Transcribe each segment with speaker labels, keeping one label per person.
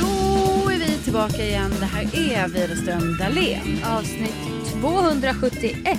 Speaker 1: Då är vi tillbaka igen. Det här är Widerström Dahlén. Avsnitt 271.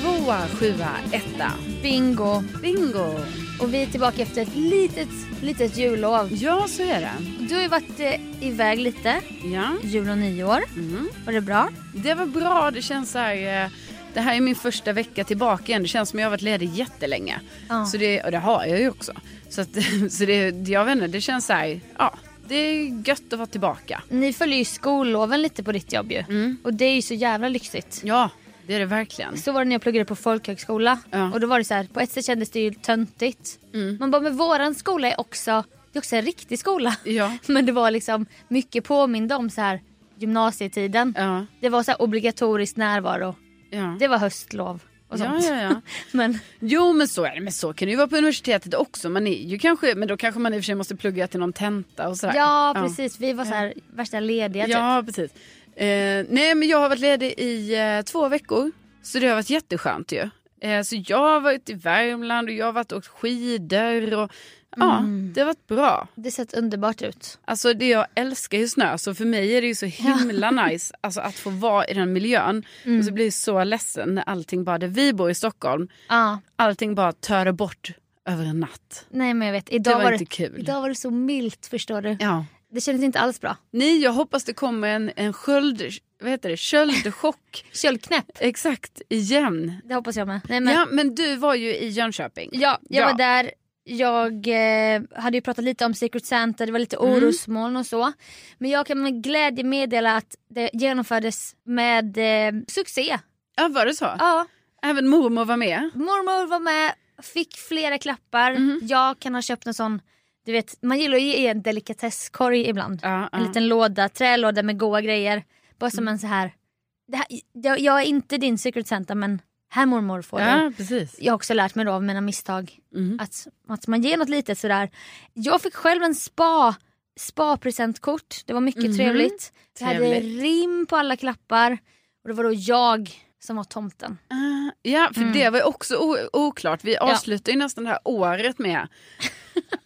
Speaker 1: Tvåa, sjua, etta.
Speaker 2: Bingo.
Speaker 1: Bingo!
Speaker 2: Och vi är tillbaka efter ett litet, litet jullov.
Speaker 1: Ja, så är det.
Speaker 2: Du har ju varit eh, iväg lite,
Speaker 1: Ja.
Speaker 2: jul och nyår.
Speaker 1: Mm.
Speaker 2: Var det bra?
Speaker 1: Det var bra. Det känns så här... eh, Det här är min första vecka tillbaka igen. Det känns som jag har varit ledig jättelänge.
Speaker 2: Ja.
Speaker 1: Så det, och det har jag ju också. Så, att, så det, jag vet inte, det känns så här... Ja, det är gött att vara tillbaka.
Speaker 2: Ni följer ju skolloven lite på ditt jobb ju.
Speaker 1: Mm.
Speaker 2: Och det är ju så jävla lyxigt.
Speaker 1: Ja, det är det verkligen.
Speaker 2: Så var det när jag pluggade på folkhögskola.
Speaker 1: Ja. Mm.
Speaker 2: Och då var det så här, på ett sätt kändes det ju töntigt. Man bara, men våran skola är också, det är också en riktig skola.
Speaker 1: Ja.
Speaker 2: Men det var liksom mycket påminde om så här gymnasietiden.
Speaker 1: Ja,
Speaker 2: Det var så här obligatorisk närvaro.
Speaker 1: ja.
Speaker 2: Det var höstlov och
Speaker 1: Ja,
Speaker 2: sånt.
Speaker 1: ja, ja.
Speaker 2: men
Speaker 1: Jo men så är det, men så kan det ju vara på universitetet också. Man är ju kanske, men då kanske man i och för sig måste plugga till någon tenta och sådär.
Speaker 2: Ja precis, vi var så här, värsta lediga typ.
Speaker 1: Ja, precis. Eh, nej men jag har varit ledig i eh, två veckor. Så det har varit jätteskönt ju. Eh, så jag har varit i Värmland och jag har varit och åkt skidor och ja, det har varit bra.
Speaker 2: typ. Det sett underbart ut.
Speaker 1: Alltså det jag älskar ju snö så för mig är det ju så himla nice alltså, att få vara i den miljön. Och så blir jag så ledsen när allting bara, där vi bor i Stockholm,
Speaker 2: Ja,
Speaker 1: allting bara tör bort över en natt.
Speaker 2: nej men jag vet. Idag
Speaker 1: Det var
Speaker 2: var
Speaker 1: inte kul.
Speaker 2: Idag var det så milt förstår du.
Speaker 1: Ja.
Speaker 2: Det kändes inte alls bra.
Speaker 1: Nej, jag hoppas det kommer en, en sköld, vad heter det, köldchock.
Speaker 2: Köldknäpp,
Speaker 1: Exakt, igen.
Speaker 2: det hoppas jag med. Nej, men,
Speaker 1: Ja, men du var ju i Jönköping.
Speaker 2: ja, jag
Speaker 1: Ja.
Speaker 2: var där, jag eh, hade ju pratat lite om Secret Santa, det var
Speaker 1: Mm.
Speaker 2: lite orosmoln och så. Men jag kan med glädje meddela att det genomfördes med eh, succé.
Speaker 1: Ja, var det så?
Speaker 2: Ja,
Speaker 1: Även mormor var med.
Speaker 2: Mormor var med, fick flera klappar.
Speaker 1: Mm.
Speaker 2: Jag kan ha köpt en sån, du vet man gillar ju att ge en delikatesskorg ibland.
Speaker 1: Ja, Mm.
Speaker 2: En liten låda, trälåda med goa grejer. Bara som en så här, det här jag, jag är inte din secret santa men här mormor får du.
Speaker 1: ja precis.
Speaker 2: Jag har också lärt mig då av mina misstag att, att man ger något litet sådär. Jag fick själv en spa, spa-presentkort. Det var mycket trevligt. Det hade
Speaker 1: Mhm. Trevligt.
Speaker 2: rim på alla klappar. Och det var då jag som var tomten.
Speaker 1: Ah, Ja,
Speaker 2: Mm.
Speaker 1: för det var ju också o- oklart. Vi avslutar ju nästan det här året med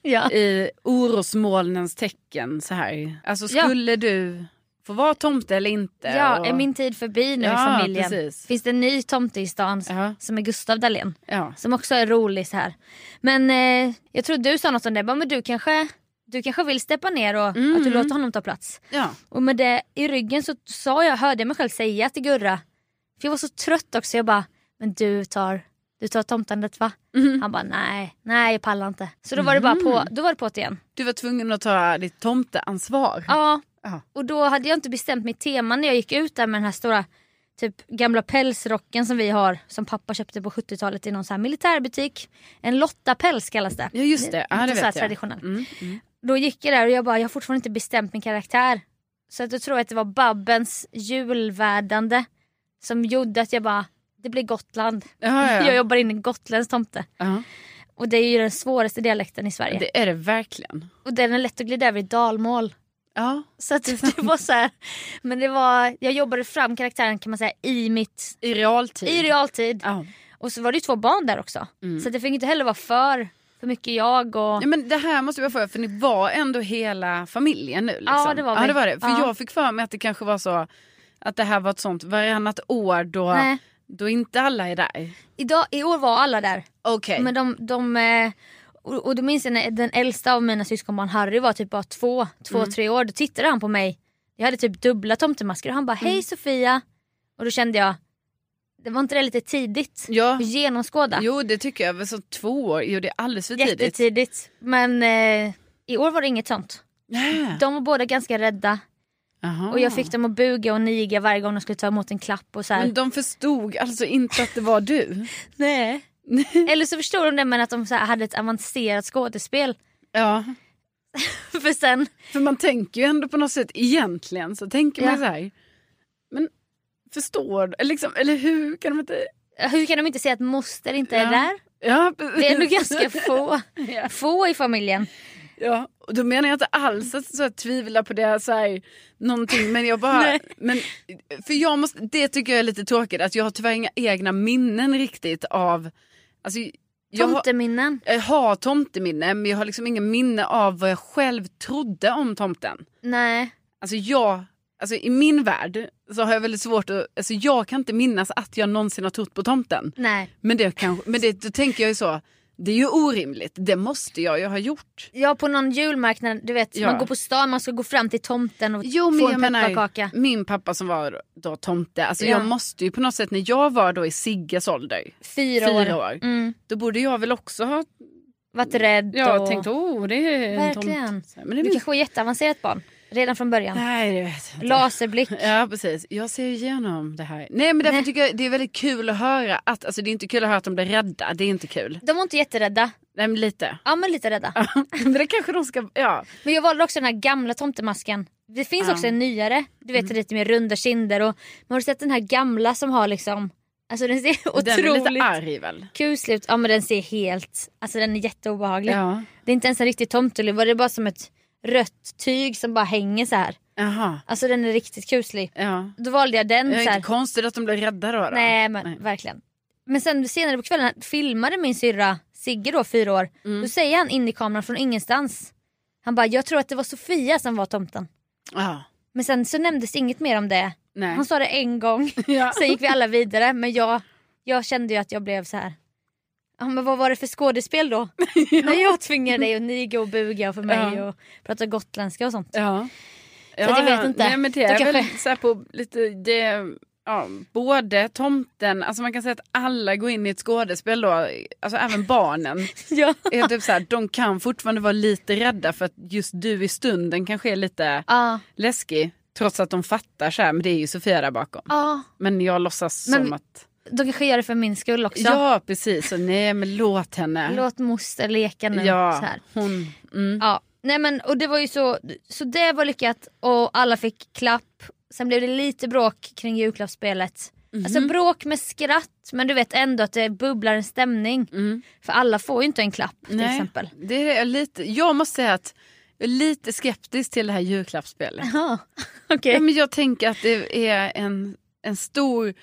Speaker 2: Ja.
Speaker 1: i orosmolnens tecken. Så här. Alltså,
Speaker 2: Ja.
Speaker 1: skulle du få vara tomte eller inte?
Speaker 2: Ja,
Speaker 1: Och-
Speaker 2: är min tid förbi nu
Speaker 1: Ja,
Speaker 2: i familjen?
Speaker 1: precis.
Speaker 2: Finns det en ny tomte i stan som-
Speaker 1: Ja.
Speaker 2: som är Gustav Dahlén?
Speaker 1: ja.
Speaker 2: Som också är rolig så här. Men eh, jag tror du sa något om det, bara, men du kanske, du kanske vill steppa ner och att
Speaker 1: Mm.
Speaker 2: du låter honom ta plats.
Speaker 1: ja.
Speaker 2: Och med det i ryggen så sa jag, hörde jag mig själv säga till Gurra, för jag var så trött också, jag bara, men du tar, du tar tomtandet va? Han bara, nej, nej jag pallar inte. Så då var det bara på, då var det på det igen.
Speaker 1: Du var tvungen att ta ditt tomteansvar.
Speaker 2: Ja,
Speaker 1: Ja.
Speaker 2: Och då hade jag inte bestämt mitt tema när jag gick ut där med den här stora typ gamla pälsrocken som vi har som pappa köpte på 70-talet i någon så här militärbutik. En Lotta-päls kallas det.
Speaker 1: Ja just det, ja,
Speaker 2: Lite så här
Speaker 1: det vet jag.
Speaker 2: traditionellt.
Speaker 1: Mm, mm.
Speaker 2: Då gick jag där och jag bara, jag har fortfarande inte bestämt min karaktär. Så att då tror jag att det var Babbens julvärdande som gjorde att jag bara, det blir Gotland.
Speaker 1: Ja, ja.
Speaker 2: Jag jobbar in i Gotländsk tomte.
Speaker 1: Ja.
Speaker 2: Och det är ju den svåraste dialekten i Sverige.
Speaker 1: Det är det verkligen.
Speaker 2: Och den är lätt att glida över i dalmål.
Speaker 1: Ja.
Speaker 2: Så att det var så här, men det var, jag jobbade fram karaktären kan man säga i mitt,
Speaker 1: I realtid.
Speaker 2: i realtid.
Speaker 1: ja. Mm.
Speaker 2: Och så var det ju två barn där också. Så det fick inte heller vara för, för mycket jag och...
Speaker 1: Ja, men det här måste jag bara fråga, för ni var ändå hela familjen nu? Liksom.
Speaker 2: Ja, det var vi.
Speaker 1: ja, det, var det. För
Speaker 2: Ja.
Speaker 1: jag fick för mig att det kanske var så att det här var ett sånt varannat år då,
Speaker 2: Nej.
Speaker 1: då inte alla är där.
Speaker 2: Idag, I år var alla där.
Speaker 1: Okej.
Speaker 2: Men de, de eh, och, och då minns jag när den äldsta av mina syskonbarn Harry var typ bara två, två
Speaker 1: Mm.
Speaker 2: tre år. Då tittade han på mig. Jag hade typ dubbla tomtemasker och han bara hej
Speaker 1: Mm.
Speaker 2: Sofia. Och då kände jag, det var inte det lite tidigt?
Speaker 1: Ja.
Speaker 2: Att Genomskåda.
Speaker 1: Jo det tycker jag, så två år, jo det är alldeles för tidigt.
Speaker 2: Jättetidigt. Men eh, i år var det inget sånt.
Speaker 1: Nej.
Speaker 2: De var båda ganska rädda
Speaker 1: Jaha.
Speaker 2: och jag fick dem att buga och niga varje gång de skulle ta emot en klapp och så här.
Speaker 1: Ah. Men de förstod alltså inte att det var du?
Speaker 2: Nej. Eller så förstod de det men att de så här hade ett avancerat skådespel.
Speaker 1: ja.
Speaker 2: För sen
Speaker 1: För man tänker ju ändå på något sätt egentligen så tänker man
Speaker 2: Ja.
Speaker 1: så här. Men förstår du? Eller Liksom, eller hur kan de inte?
Speaker 2: Hur kan de inte säga att moster inte
Speaker 1: Ja.
Speaker 2: är där?
Speaker 1: Ja,
Speaker 2: Det är nog ganska få, få i familjen.
Speaker 1: Ja, och då menar jag inte alls att så här, tvivla på det så här, någonting men jag bara men, för jag måste, det tycker jag är lite tråkigt att jag har tyvärr inga egna minnen riktigt av alltså, jag, har,
Speaker 2: Tomteminnen.
Speaker 1: jag har tomteminne men jag har liksom inga minne av vad jag själv trodde om tomten.
Speaker 2: Nej.
Speaker 1: Alltså jag, alltså i min värld så har jag väldigt svårt att, alltså jag kan inte minnas att jag någonsin har trott på tomten.
Speaker 2: Nej.
Speaker 1: Men det kanske, men det, då tänker jag ju så, det är ju orimligt, det måste jag ju ha gjort.
Speaker 2: Ja på någon julmarknad, du vet
Speaker 1: Ja.
Speaker 2: man går på stan, man ska gå fram till tomten och
Speaker 1: Jo, men
Speaker 2: få
Speaker 1: jag
Speaker 2: en pepparkaka.
Speaker 1: menar, min pappa som var då tomte, alltså
Speaker 2: Ja.
Speaker 1: jag måste ju på något sätt, när jag var då i Sigges ålder,
Speaker 2: Fyra,
Speaker 1: fyra
Speaker 2: år.
Speaker 1: år,
Speaker 2: Mm.
Speaker 1: då borde jag väl också ha
Speaker 2: Varit rädd
Speaker 1: ja,
Speaker 2: och...
Speaker 1: tänkt åh det är en
Speaker 2: Verkligen.
Speaker 1: tomte. Så här, Men
Speaker 2: Du
Speaker 1: det vill...
Speaker 2: kanske var jätteavancerat barn. Redan från början.
Speaker 1: Nej det vet jag inte.
Speaker 2: Laserblick.
Speaker 1: Ja precis, jag ser igenom det här. Nej men därför
Speaker 2: Nej.
Speaker 1: tycker jag det är väldigt kul att höra att, alltså det är inte kul att höra att de blir rädda, det är inte kul.
Speaker 2: De var inte jätterädda.
Speaker 1: Nej men lite.
Speaker 2: Ja men lite rädda.
Speaker 1: men det kanske de ska, ja.
Speaker 2: Men jag valde också den här gamla tomtemasken. Det finns
Speaker 1: Ja. Mm.
Speaker 2: också en nyare, du vet lite mer runda kinder och man har sett den här gamla som har liksom, alltså den ser
Speaker 1: Den är
Speaker 2: otroligt
Speaker 1: lite arg väl?
Speaker 2: kuslig ut. Ja men den ser helt, alltså den är jätteobehaglig.
Speaker 1: Ja.
Speaker 2: Det är inte ens en riktig tomteluva, det är bara som ett rött tyg som bara hänger så här.
Speaker 1: Jaha.
Speaker 2: Alltså den är riktigt kuslig.
Speaker 1: Ja.
Speaker 2: Då valde jag den
Speaker 1: Det
Speaker 2: Mm, så
Speaker 1: är
Speaker 2: här.
Speaker 1: inte konstigt att de blir rädda då. då.
Speaker 2: Nej men verkligen. Men sen senare på kvällen filmade min syrra Sigge då fyra år.
Speaker 1: Mm.
Speaker 2: Då säger han in i kameran från ingenstans. Han bara jag tror att det var Sofia som var tomten.
Speaker 1: Ja.
Speaker 2: Men sen så nämndes inget mer om det.
Speaker 1: Nej.
Speaker 2: Han sa det en gång,
Speaker 1: Ja.
Speaker 2: sen gick vi alla vidare. Men jag, jag kände ju att jag blev så här. Ja, men vad var det för skådespel då? När jag tvingade dig och niga och buga för mig
Speaker 1: Ja.
Speaker 2: och prata gotländska och sånt.
Speaker 1: Ja.
Speaker 2: att jag vet inte.
Speaker 1: Nej, men det
Speaker 2: Då
Speaker 1: är
Speaker 2: kanske-
Speaker 1: väl så här på lite, det, ja, både tomten, alltså man kan säga att alla går in i ett skådespel då, alltså även barnen.
Speaker 2: Ja.
Speaker 1: är typ så här, de kan fortfarande vara lite rädda för att just du i stunden kanske är lite
Speaker 2: Ja,
Speaker 1: läskig. Trots att de fattar så här, men det är ju Sofia där bakom.
Speaker 2: ja.
Speaker 1: Men jag låtsas
Speaker 2: Men-
Speaker 1: som att...
Speaker 2: De kanske gör det för min skull också.
Speaker 1: Ja precis, så nej men låt henne.
Speaker 2: Låt moster leka nu. Så
Speaker 1: ja,
Speaker 2: här.
Speaker 1: hon... Mm.
Speaker 2: Ja. Nej, men, och det var ju så, så det var lyckat och alla fick klapp. Sen blev det lite bråk kring julklappsspelet.
Speaker 1: Mhm.
Speaker 2: Alltså bråk med skratt men du vet ändå att det bubblar en stämning.
Speaker 1: Mm.
Speaker 2: För alla får ju inte en klapp till
Speaker 1: Nej,
Speaker 2: exempel.
Speaker 1: Det är lite, jag måste säga att jag är lite skeptisk till det här julklappsspelet.
Speaker 2: Jaha,
Speaker 1: Ja,
Speaker 2: okej.
Speaker 1: men jag tänker att det är en, en stor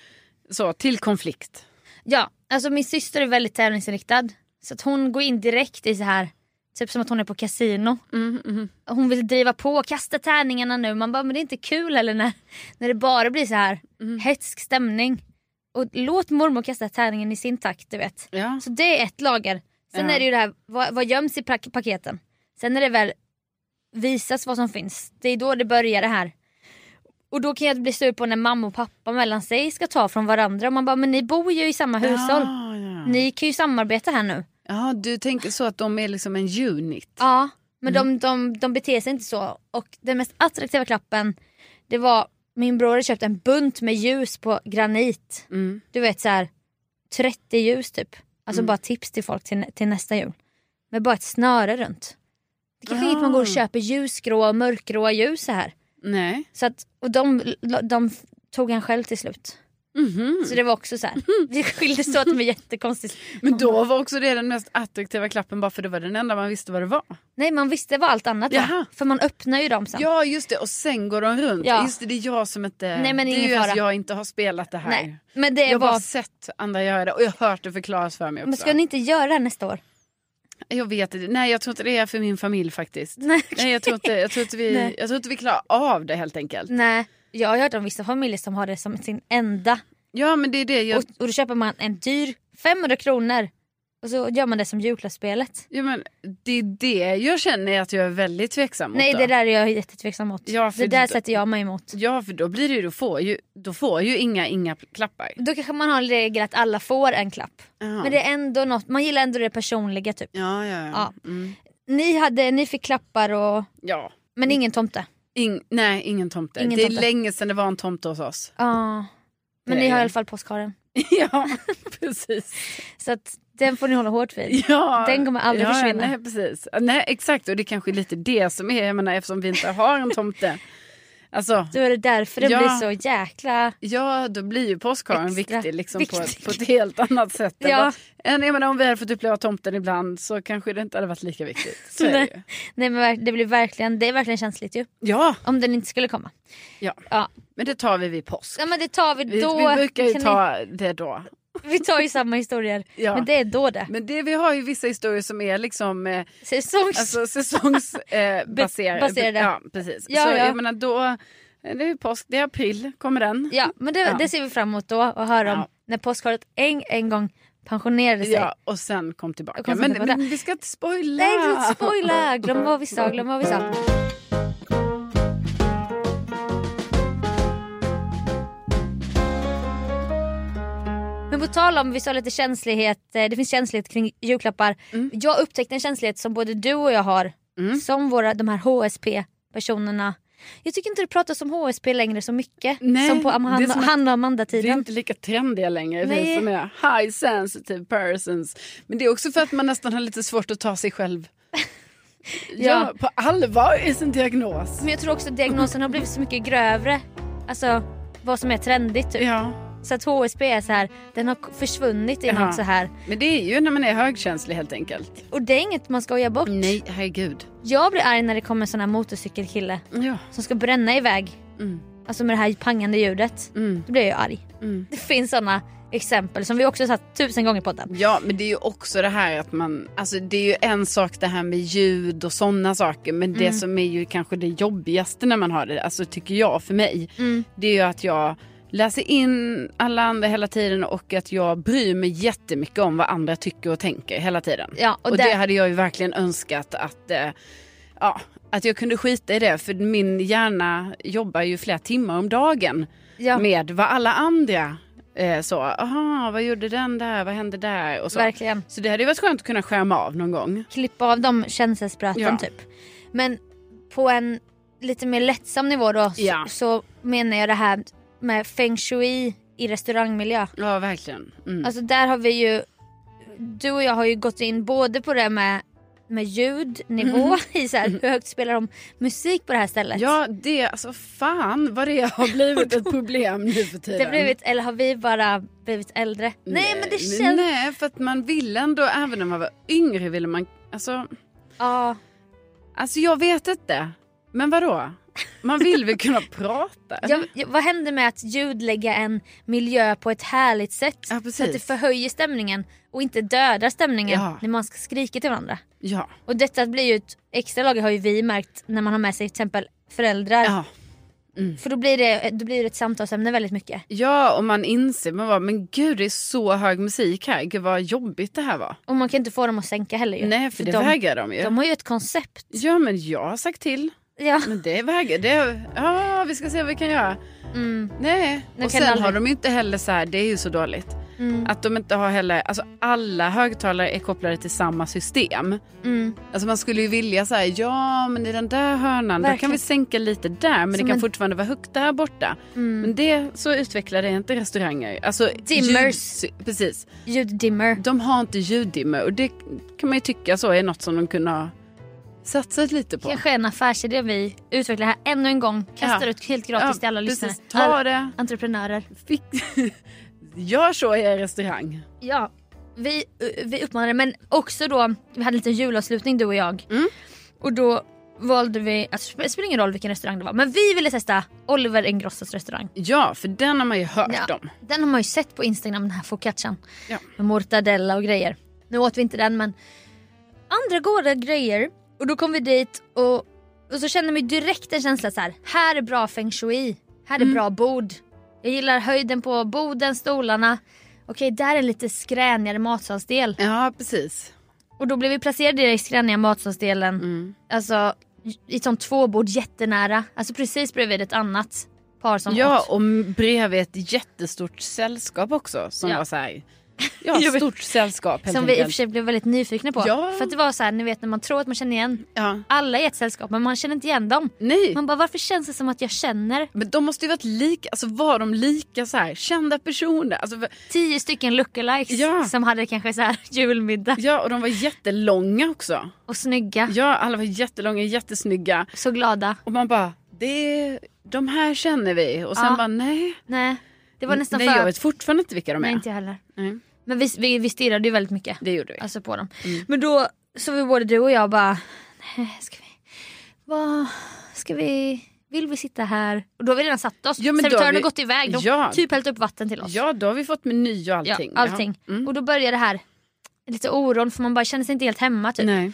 Speaker 1: så, till konflikt.
Speaker 2: Ja, alltså min syster är väldigt tävlingsinriktad. Så att hon går in direkt i så här, typ som att hon är på kasino.
Speaker 1: Mm,
Speaker 2: Hon vill driva på, kasta tärningarna nu. Man bara, men det är inte kul heller när, när det bara blir så här
Speaker 1: Mm.
Speaker 2: hätsk stämning. Och låt mormor kasta tärningen i sin takt, du vet.
Speaker 1: Ja.
Speaker 2: Så det är ett lager. Sen
Speaker 1: Ja.
Speaker 2: är det ju det här, vad, vad göms i pak- paketen? Sen när det väl visas vad som finns, det är då det börjar det här. Och då kan jag bli sur på när mamma och pappa mellan sig ska ta från varandra. Och man bara, men ni bor ju i samma hushåll.
Speaker 1: Ja, ja.
Speaker 2: Ni kan ju samarbeta här nu.
Speaker 1: ja, du tänker så att de är liksom en unit.
Speaker 2: Ja, Men de, de, de beter sig inte så. Och den mest attraktiva klappen det var min bror hade köpt en bunt med ljus på granit.
Speaker 1: Mm.
Speaker 2: Du vet så här 30 ljus typ. Alltså bara tips till folk till, nä- till nästa jul. Med bara ett snöre runt. Det kanske är inget man
Speaker 1: Ah.
Speaker 2: går och köper ljusgrå och mörkgråa ljus så här.
Speaker 1: Nej.
Speaker 2: Så att, och de, de tog han själv till slut.
Speaker 1: Mm-hmm.
Speaker 2: Så det var också så här. Vi skildes åt med jättekonstigt.
Speaker 1: Men då var också det den mest attraktiva klappen bara för det var den enda man visste vad det var.
Speaker 2: Nej man visste vad allt annat var.
Speaker 1: Jaha.
Speaker 2: För man öppnar ju dem sen.
Speaker 1: Ja just det och sen går de runt.
Speaker 2: Ja.
Speaker 1: Just det, det är jag som inte,
Speaker 2: Nej, men
Speaker 1: det är
Speaker 2: ingen
Speaker 1: ju att
Speaker 2: fara.
Speaker 1: jag inte har spelat det här.
Speaker 2: Nej, men det
Speaker 1: Jag har bara
Speaker 2: var...
Speaker 1: sett andra göra det och jag har hört det förklaras för mig också.
Speaker 2: Men ska ni inte göra det här nästa år?
Speaker 1: Jag vet inte, nej jag tror inte det är för min familj faktiskt.
Speaker 2: Nej.
Speaker 1: Nej, jag, tror inte, jag, tror inte vi,
Speaker 2: Nej.
Speaker 1: jag tror inte vi klarar av det helt enkelt.
Speaker 2: Nej. Jag har hört om vissa familjer som har det som sin enda.
Speaker 1: Ja men det är det jag...
Speaker 2: Och, och då köper man en dyr 500 kronor. Och så gör man det som julklappsspelet.
Speaker 1: Ja, men det är det jag känner att jag är väldigt tveksam mot.
Speaker 2: Nej
Speaker 1: då.
Speaker 2: det där är jag jättetveksam mot.
Speaker 1: Ja, för
Speaker 2: det där
Speaker 1: då-
Speaker 2: sätter jag mig emot.
Speaker 1: Ja för då blir det ju, då får ju, då får ju inga, inga klappar.
Speaker 2: Då kanske man har en regel att alla får en klapp.
Speaker 1: Jaha.
Speaker 2: Men det är ändå något, man gillar ändå det personliga typ.
Speaker 1: Ja, ja, ja.
Speaker 2: Ja.
Speaker 1: Mm.
Speaker 2: Ni, hade, ni fick klappar och,
Speaker 1: ja.
Speaker 2: men ingen tomte.
Speaker 1: Ing, nej, ingen tomte.
Speaker 2: Ingen
Speaker 1: det är
Speaker 2: tomte.
Speaker 1: länge sedan det var en tomte hos oss.
Speaker 2: Ja. Men
Speaker 1: Det
Speaker 2: ni
Speaker 1: är-
Speaker 2: har i alla fall påskharen.
Speaker 1: ja, precis.
Speaker 2: Så att den får ni hålla hårt vid.
Speaker 1: Ja.
Speaker 2: Den kommer aldrig
Speaker 1: ja,
Speaker 2: försvinna.
Speaker 1: Nej, precis. Nej, exakt. Och det är kanske är lite det som är, jag menar, eftersom vi inte har en tomte. Alltså,
Speaker 2: Då är det därför det
Speaker 1: Ja.
Speaker 2: blir så jäkla...
Speaker 1: ja, då blir ju påskharen
Speaker 2: Extra
Speaker 1: viktig, liksom,
Speaker 2: viktig.
Speaker 1: På, på ett helt annat sätt. än
Speaker 2: Ja.
Speaker 1: vad- än, jag menar, om vi hade fått uppleva tomten ibland så kanske det inte hade varit lika viktigt. Så är det ju.
Speaker 2: Nej men verk- det blir verkligen, det är verkligen känsligt ju.
Speaker 1: Ja,
Speaker 2: Om den inte skulle komma.
Speaker 1: Ja.
Speaker 2: Ja,
Speaker 1: men det tar vi vid påsk.
Speaker 2: ja men det tar vi
Speaker 1: Vi,
Speaker 2: då.
Speaker 1: vi brukar ju
Speaker 2: kan
Speaker 1: ta det då.
Speaker 2: ni, vi tar ju samma historier.
Speaker 1: Ja.
Speaker 2: Men det är då det.
Speaker 1: Men det, vi har ju vissa historier som är liksom eh,
Speaker 2: Säsongs...
Speaker 1: Alltså säsongsbaserade. Eh, baser-
Speaker 2: baserade.
Speaker 1: Ja, precis.
Speaker 2: Ja,
Speaker 1: så
Speaker 2: ja.
Speaker 1: jag menar då, eh, det är ju påsk, det är april, kommer den.
Speaker 2: ja men det,
Speaker 1: Ja.
Speaker 2: det ser vi fram emot då och höra om
Speaker 1: Ja.
Speaker 2: när påskharet en, en gång pensionerade sig.
Speaker 1: Ja, och sen kom tillbaka.
Speaker 2: Och kom
Speaker 1: men,
Speaker 2: tillbaka.
Speaker 1: men vi ska inte spoila.
Speaker 2: Nej vi ska inte spoila, glöm vad vi sa, glöm vad vi sa. Men på tal om, vi sa lite känslighet, eh, det finns känslighet kring julklappar.
Speaker 1: Mm.
Speaker 2: Jag upptäckte en känslighet som både du och jag har, som våra, de här HSP-personerna. Jag tycker inte det pratas om HSP längre så mycket
Speaker 1: Nej,
Speaker 2: som på Amanda,
Speaker 1: det är som att-
Speaker 2: Hanna och
Speaker 1: Det är
Speaker 2: Amanda-tiden.
Speaker 1: inte lika trendiga längre,
Speaker 2: Nej.
Speaker 1: vi som är high sensitive persons. Men det är också för att man nästan har lite svårt att ta sig själv ja.
Speaker 2: Ja.
Speaker 1: på allvar i sin diagnos.
Speaker 2: Men jag tror också att diagnosen har blivit så mycket grövre. Alltså vad som är trendigt typ.
Speaker 1: Ja,
Speaker 2: Så att HSB är så här, den har k- försvunnit i
Speaker 1: Ja.
Speaker 2: något så här.
Speaker 1: men det är ju när man är högkänslig helt enkelt.
Speaker 2: Och det är inget man skojar bort.
Speaker 1: Nej, herregud.
Speaker 2: Jag blir arg när det kommer en sån här motorcykelkille
Speaker 1: Ja.
Speaker 2: som ska bränna iväg.
Speaker 1: Mm.
Speaker 2: Alltså med det här pangande ljudet.
Speaker 1: Mm.
Speaker 2: Då blir jag ju arg.
Speaker 1: Mm.
Speaker 2: Det finns såna exempel som vi också har satt tusen gånger på den.
Speaker 1: Ja, men det är ju också det här att man, alltså det är ju en sak det här med ljud och sådana saker, men
Speaker 2: Mm.
Speaker 1: det som är ju kanske det jobbigaste när man har det, alltså tycker jag för mig,
Speaker 2: Mm.
Speaker 1: det är ju att jag läser in alla andra hela tiden och att jag bryr mig jättemycket om vad andra tycker och tänker hela tiden.
Speaker 2: Ja, och
Speaker 1: och det...
Speaker 2: där-
Speaker 1: hade jag ju verkligen önskat att, eh, ja, att jag kunde skita i det, för min hjärna jobbar ju flera timmar om dagen
Speaker 2: Ja,
Speaker 1: med vad alla andra eh, så, aha, vad gjorde den där, vad hände där och så.
Speaker 2: verkligen.
Speaker 1: Så det hade ju varit skönt att kunna skärma av någon gång.
Speaker 2: Klippa av de känselspröten
Speaker 1: Ja.
Speaker 2: typ. Men på en lite mer lättsam nivå då så,
Speaker 1: Ja.
Speaker 2: så menar jag det här med feng shui i restaurangmiljö.
Speaker 1: Ja, verkligen. Mm.
Speaker 2: Alltså där har vi ju, du och jag har ju gått in både på det med, med ljudnivå, i så här, hur högt spelar de musik på det här stället?
Speaker 1: Mm. ja, det, alltså fan vad det har blivit ett problem nu för tiden.
Speaker 2: det har blivit, eller har vi bara blivit äldre? Nej, men det känns...
Speaker 1: Nej, för att man ville ändå, även när man var yngre ville man, alltså,
Speaker 2: Ja,
Speaker 1: alltså jag vet inte. Men vadå? Man vill väl kunna prata? eller?
Speaker 2: jag, jag, vad händer med att ljudlägga en miljö på ett härligt sätt?
Speaker 1: Ja,
Speaker 2: så att det
Speaker 1: precis.
Speaker 2: förhöjer stämningen och inte dödar stämningen
Speaker 1: Ja.
Speaker 2: när man ska skrika till varandra.
Speaker 1: ja.
Speaker 2: Och detta blir ju ett extra lager har ju vi märkt när man har med sig till exempel föräldrar.
Speaker 1: ja.
Speaker 2: För då blir, det, då blir det ett samtalsämne väldigt mycket.
Speaker 1: Ja, och man inser, man bara, men gud det är så hög musik här, gud vad jobbigt det här var.
Speaker 2: Och man kan inte få dem att sänka heller ju.
Speaker 1: Nej, för det
Speaker 2: de,
Speaker 1: vägrar de ju.
Speaker 2: De har ju ett koncept.
Speaker 1: Ja, men jag har sagt till.
Speaker 2: Ja,
Speaker 1: Men det väger. Det, ja, vi ska se vad vi kan göra.
Speaker 2: mm,
Speaker 1: Nej.
Speaker 2: Nu
Speaker 1: och
Speaker 2: kan Mm.
Speaker 1: sen
Speaker 2: aldrig-
Speaker 1: har de ju inte heller så här, det är ju så dåligt. Att de inte har heller, alltså alla högtalare är kopplade till samma system.
Speaker 2: Mm.
Speaker 1: Alltså man skulle ju vilja säga, ja men i den där hörnan, då kan
Speaker 2: Verkligen.
Speaker 1: vi sänka lite där men
Speaker 2: Som
Speaker 1: det kan
Speaker 2: en-
Speaker 1: fortfarande vara högt där borta.
Speaker 2: Mm.
Speaker 1: Men det, så utvecklade inte restauranger. Alltså,
Speaker 2: Dimmers.
Speaker 1: ljud- precis.
Speaker 2: Ljuddimmer.
Speaker 1: De har inte ljuddimmer och det kan man ju tycka så är något som de kunde ha satsat lite på.
Speaker 2: Kanske en affärsidé vi utvecklar här ännu en gång. Kastar ut helt gratis till alla lyssnare.
Speaker 1: Precis, ta
Speaker 2: Alla
Speaker 1: det.
Speaker 2: entreprenörer.
Speaker 1: Fick... Gör så i er restaurang.
Speaker 2: Ja, vi, eh, vi uppmanade men också då, vi hade en liten julavslutning du och jag.
Speaker 1: Mm.
Speaker 2: Och då valde vi, alltså, det spelar ingen roll vilken restaurang det var, men vi ville testa Oliver Ingrossos restaurang.
Speaker 1: Ja, för den har man ju hört
Speaker 2: Ja.
Speaker 1: om.
Speaker 2: Den har man ju sett på Instagram den här focaccian.
Speaker 1: Ja.
Speaker 2: Med mortadella och grejer. Nu åt vi inte den men andra goda grejer. Och då kom vi dit och, och så kände man ju direkt en känsla så här. här är bra feng shui, här är
Speaker 1: Mm.
Speaker 2: bra bord. Jag gillar höjden på borden, stolarna. Okej, där är en lite skränigare matsalsdel.
Speaker 1: Ja, precis.
Speaker 2: Och då blev vi placerade i den skränniga matsalsdelen.
Speaker 1: Mm.
Speaker 2: Alltså i som två bord jättenära. Alltså precis bredvid ett annat par som
Speaker 1: Ja,
Speaker 2: åt.
Speaker 1: och bredvid ett jättestort sällskap också som
Speaker 2: Ja.
Speaker 1: var så här. Ja,
Speaker 2: Jag vet.
Speaker 1: stort sällskap helt
Speaker 2: Som vi i och för
Speaker 1: enkelt.
Speaker 2: sig blev väldigt nyfikna på.
Speaker 1: Ja.
Speaker 2: För att det var så här, ni vet när man tror att man känner igen
Speaker 1: Ja.
Speaker 2: alla i ett sällskap men man känner inte igen dem.
Speaker 1: Nej,
Speaker 2: Man bara varför känns det som att jag känner
Speaker 1: men de måste ju varit lika, alltså var de lika så här kända personer? Alltså, för-
Speaker 2: tio stycken lookalikes
Speaker 1: Ja.
Speaker 2: som hade kanske så här julmiddag
Speaker 1: ja, och de var jättelånga också.
Speaker 2: och snygga,
Speaker 1: Ja, alla var jättelånga, jättesnygga.
Speaker 2: så glada.
Speaker 1: Och man bara, det, de här känner vi. Och sen
Speaker 2: Ja.
Speaker 1: bara, nej.
Speaker 2: Nej, det var nästan
Speaker 1: nej,
Speaker 2: för...
Speaker 1: jag vet fortfarande inte vilka de är.
Speaker 2: Nej inte jag heller.
Speaker 1: Nej. Mm.
Speaker 2: Men vi, vi, vi stirrade ju väldigt mycket.
Speaker 1: Det gjorde vi.
Speaker 2: alltså på dem. Men då så vi både du och jag bara, nej ska vi, vad, ska vi, vill vi sitta här? Och då har vi redan satt oss,
Speaker 1: Ja, men då
Speaker 2: servitören
Speaker 1: har
Speaker 2: har
Speaker 1: vi-
Speaker 2: gått iväg, de
Speaker 1: Ja.
Speaker 2: typ hällt upp vatten till oss.
Speaker 1: Ja, då har vi fått meny och
Speaker 2: Ja,
Speaker 1: allting.
Speaker 2: allting.
Speaker 1: Ja. Mm.
Speaker 2: Och då börjar det här, lite oron för man bara känner sig inte helt hemma typ.
Speaker 1: Nej.